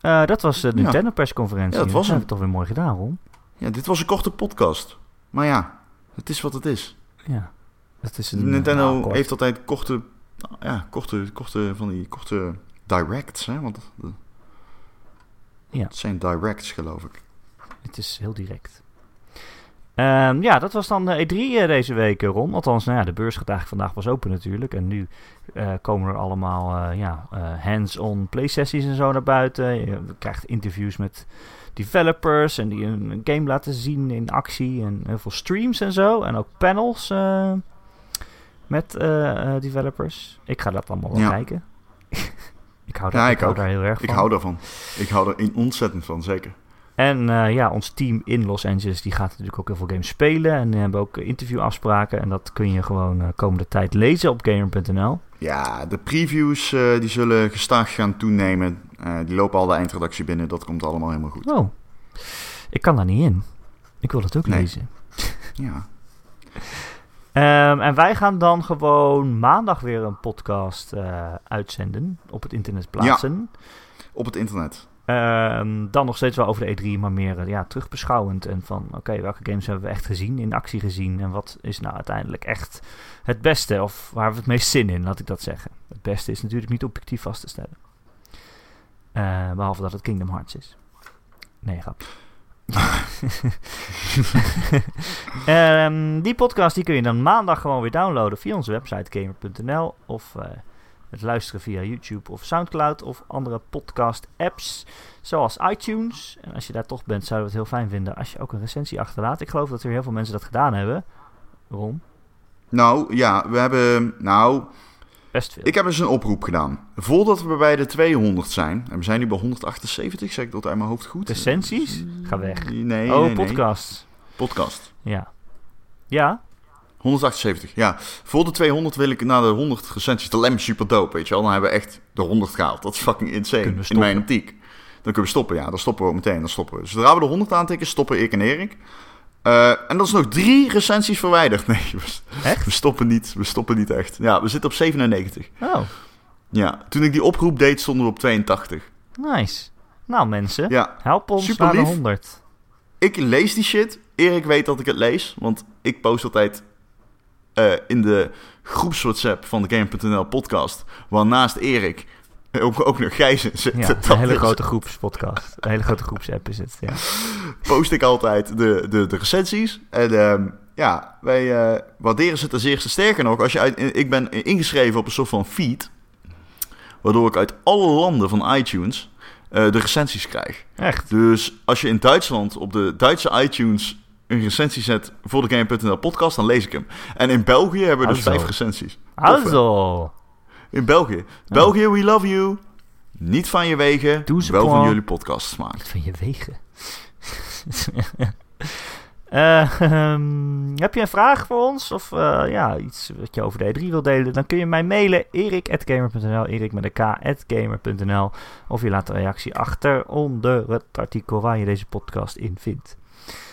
S1: Eh, dat was de
S2: Ja.
S1: Nintendo-persconferentie.
S2: Ja, dat was
S1: hebben we
S2: hem.
S1: toch weer mooi gedaan, Ron.
S2: Ja, dit was een korte podcast. Maar ja, het is wat het is.
S1: Ja. Dat is een, eh,
S2: Nintendo
S1: akkoord.
S2: heeft altijd korte, nou ja, korte, korte van die korte directs, hè? Want de-
S1: Ja.
S2: het zijn directs, geloof ik.
S1: Het is heel direct. Ehm, ja, dat was dan de E3 eh, deze week, eh, Ron. Althans, nou ja, de beurs gaat eigenlijk vandaag pas open natuurlijk. En nu eh, komen er allemaal eh, ja, eh, hands-on playsessies en zo naar buiten. Je krijgt interviews met developers en die een een game laten zien in actie. En heel veel streams en zo. En ook panels eh, met eh, eh, developers. Ik ga dat allemaal wel
S2: Ja.
S1: kijken. ik hou, daar,
S2: Ja,
S1: ik
S2: ik
S1: hou
S2: ook.
S1: daar heel erg van.
S2: Ik hou daarvan. Ik hou er in- ontzettend van, zeker.
S1: En eh, ja, ons team in Los Angeles die gaat natuurlijk ook heel veel games spelen. En die hebben ook eh, interviewafspraken. En dat kun je gewoon eh, komende tijd lezen op gamer.nl.
S2: Ja, de previews eh, die zullen gestaag gaan toenemen. Eh, die lopen al de eindredactie binnen, dat komt allemaal helemaal goed.
S1: Oh, ik kan daar niet in. Ik wil het ook
S2: Nee.
S1: lezen.
S2: Ja,
S1: Ehm, en wij gaan dan gewoon maandag weer een podcast eh, uitzenden. Op het internet plaatsen.
S2: op het internet.
S1: Ehm, dan nog steeds wel over de E3, maar meer eh, ja, terugbeschouwend. En van, oké, welke games hebben we echt gezien, in actie gezien? En wat is nou uiteindelijk echt het beste? Of waar hebben we het meest zin in, laat ik dat zeggen. Het beste is natuurlijk niet objectief vast te stellen. Eh, behalve dat het Kingdom Hearts is. Nee, grap. Ehm, die podcast die kun je dan maandag gewoon weer downloaden via onze website gamer.nl of eh, het luisteren via YouTube of Soundcloud of andere podcast apps zoals iTunes. En als je daar toch bent, zouden we het heel fijn vinden als je ook een recensie achterlaat. Ik geloof dat er heel veel mensen dat gedaan hebben. Ron,
S2: Nou ja, we hebben. Nou,
S1: best veel.
S2: ik heb eens een oproep gedaan. Voordat we bij de 200 zijn, en we zijn nu bij 178, zeg ik dat uit mijn hoofd goed.
S1: Recensies? Ga weg.
S2: Nee, nee,
S1: oh,
S2: nee.
S1: podcasts.
S2: podcast.
S1: Ja. Ja?
S2: 178, ja. Voor de 200 wil ik naar de 100 recensies. Dat lijkt me super dope, weet je wel. Dan hebben we echt de 100 gehaald. Dat is fucking insane,
S1: Kunnen we
S2: in mijn
S1: stoppen.
S2: optiek. Dan kunnen we stoppen, ja. Dan stoppen we ook meteen. Dan stoppen we. Zodra we de 100 aantikken, stoppen ik en Erik. Eh, en dat is nog drie recensies verwijderd. Nee, we,
S1: Echt?
S2: we stoppen niet. We stoppen niet echt. Ja, we zitten op 97.
S1: Oh,
S2: Ja, toen ik die oproep deed, stonden we op 82.
S1: nice. Nou mensen,
S2: Ja,
S1: help ons
S2: Super
S1: naar de
S2: lief.
S1: 100.
S2: ik lees die shit. Erik weet dat ik het lees, want ik post altijd eh, in de groepswhatsapp van de Game.nl podcast, waar naast Erik eh, ook, ook nog Gijs in zit. Dus
S1: Ja,
S2: Dat
S1: een hele
S2: is-
S1: grote groepspodcast. Een hele grote groepsapp is het, ja.
S2: Post ik altijd de, de, de recensies. En ehm, ja, wij eh, waarderen ze ten zeerste. Sterker nog, als je uit, ik ben ingeschreven op een soort van feed, waardoor ik uit alle landen van iTunes eh, de recensies krijg.
S1: Echt.
S2: Dus als je in Duitsland op de Duitse iTunes een recensie zet voor de Game.nl podcast, dan lees ik hem. En in België hebben we dus
S1: Alzo.
S2: vijf recensies. Tof, hè?
S1: Also,
S2: In België. België, we love you. Niet van je wegen,
S1: Doe ze
S2: wel
S1: gewoon.
S2: van jullie podcast smaak.
S1: van je wegen. Eh, ehm, heb je een vraag voor ons? Of eh, ja, iets wat je over de E3 wil delen? Dan kun je mij mailen erik.gamer.nl erik met een k at gamer.nl Of je laat een reactie achter onder het artikel waar je deze podcast in vindt.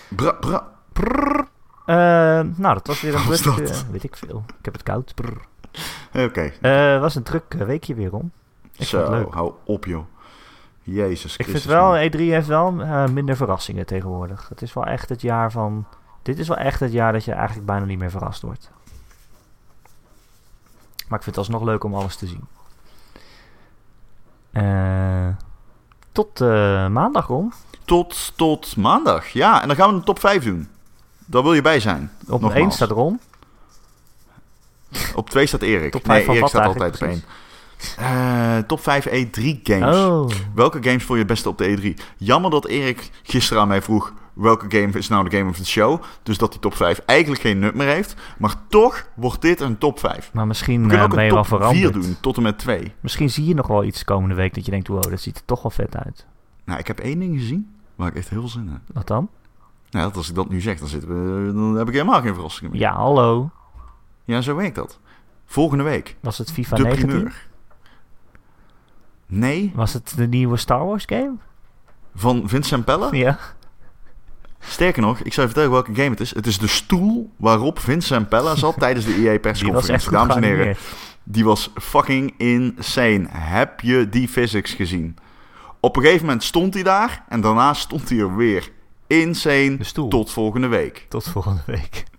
S2: Bra, bra.
S1: Prrr. Ehm, nou, dat was weer een
S2: Wat was
S1: druk...
S2: dat?
S1: eh, weet ik veel. Ik heb het koud. Prrr.
S2: Oké,
S1: Eh, was een druk eh, weekje weer om. Ik vond het
S2: zo,
S1: leuk.
S2: hou op joh. Jezus
S1: Ik
S2: Christus.
S1: vind wel,
S2: man.
S1: E3 heeft wel eh, minder verrassingen tegenwoordig. Het is wel echt het jaar van. Dit is wel echt het jaar dat je eigenlijk bijna niet meer verrast wordt. Maar ik vind het alsnog leuk om alles te zien. Eh, tot eh, maandag om.
S2: Tot, tot maandag. Ja, en dan gaan we een top 5 doen. Daar wil je bij zijn.
S1: Op
S2: Nogmaals.
S1: één staat erom.
S2: Op 2 staat Erik.
S1: Top
S2: nee,
S1: vijf van
S2: Erik
S1: wat
S2: staat altijd
S1: eigenlijk
S2: op 1. top 5 E3 games.
S1: Oh,
S2: Welke games vond je het beste op de E3? Jammer dat Erik gisteren aan mij vroeg... welke game is nou de game of the show? Dus dat die top 5 eigenlijk geen nummer heeft. Maar toch wordt dit een top 5.
S1: maar misschien
S2: We kunnen
S1: eh,
S2: ook
S1: ben je wel
S2: een top 4
S1: veranderd.
S2: doen, tot en met 2.
S1: Misschien zie je nog wel iets komende week dat je denkt: wow, dat ziet er toch wel vet uit.
S2: Nou, ik heb één ding gezien waar ik echt heel zin in heb.
S1: Wat dan?
S2: Nou, dat als ik dat nu zeg, dan, zitten we, dan heb ik helemaal geen verrassingen meer.
S1: Ja, hallo.
S2: Ja, zo werkt dat. Volgende week,
S1: Was het FIFA
S2: de
S1: 19?
S2: primeur. Nee,
S1: Was het de nieuwe Star Wars game?
S2: van Vincent Pelle.
S1: Ja.
S2: Sterker nog, ik zou je vertellen welke game het is. Het is de stoel waarop Vincent Pelle zat tijdens de
S1: Die was echt
S2: EA-persconferentie.
S1: goed
S2: Dames en heren,
S1: geanimeerd.
S2: Die was fucking insane. Heb je die physics gezien? Op een gegeven moment stond hij daar en daarna stond hij er weer. Insane.
S1: De stoel.
S2: Tot volgende week.
S1: Tot volgende week.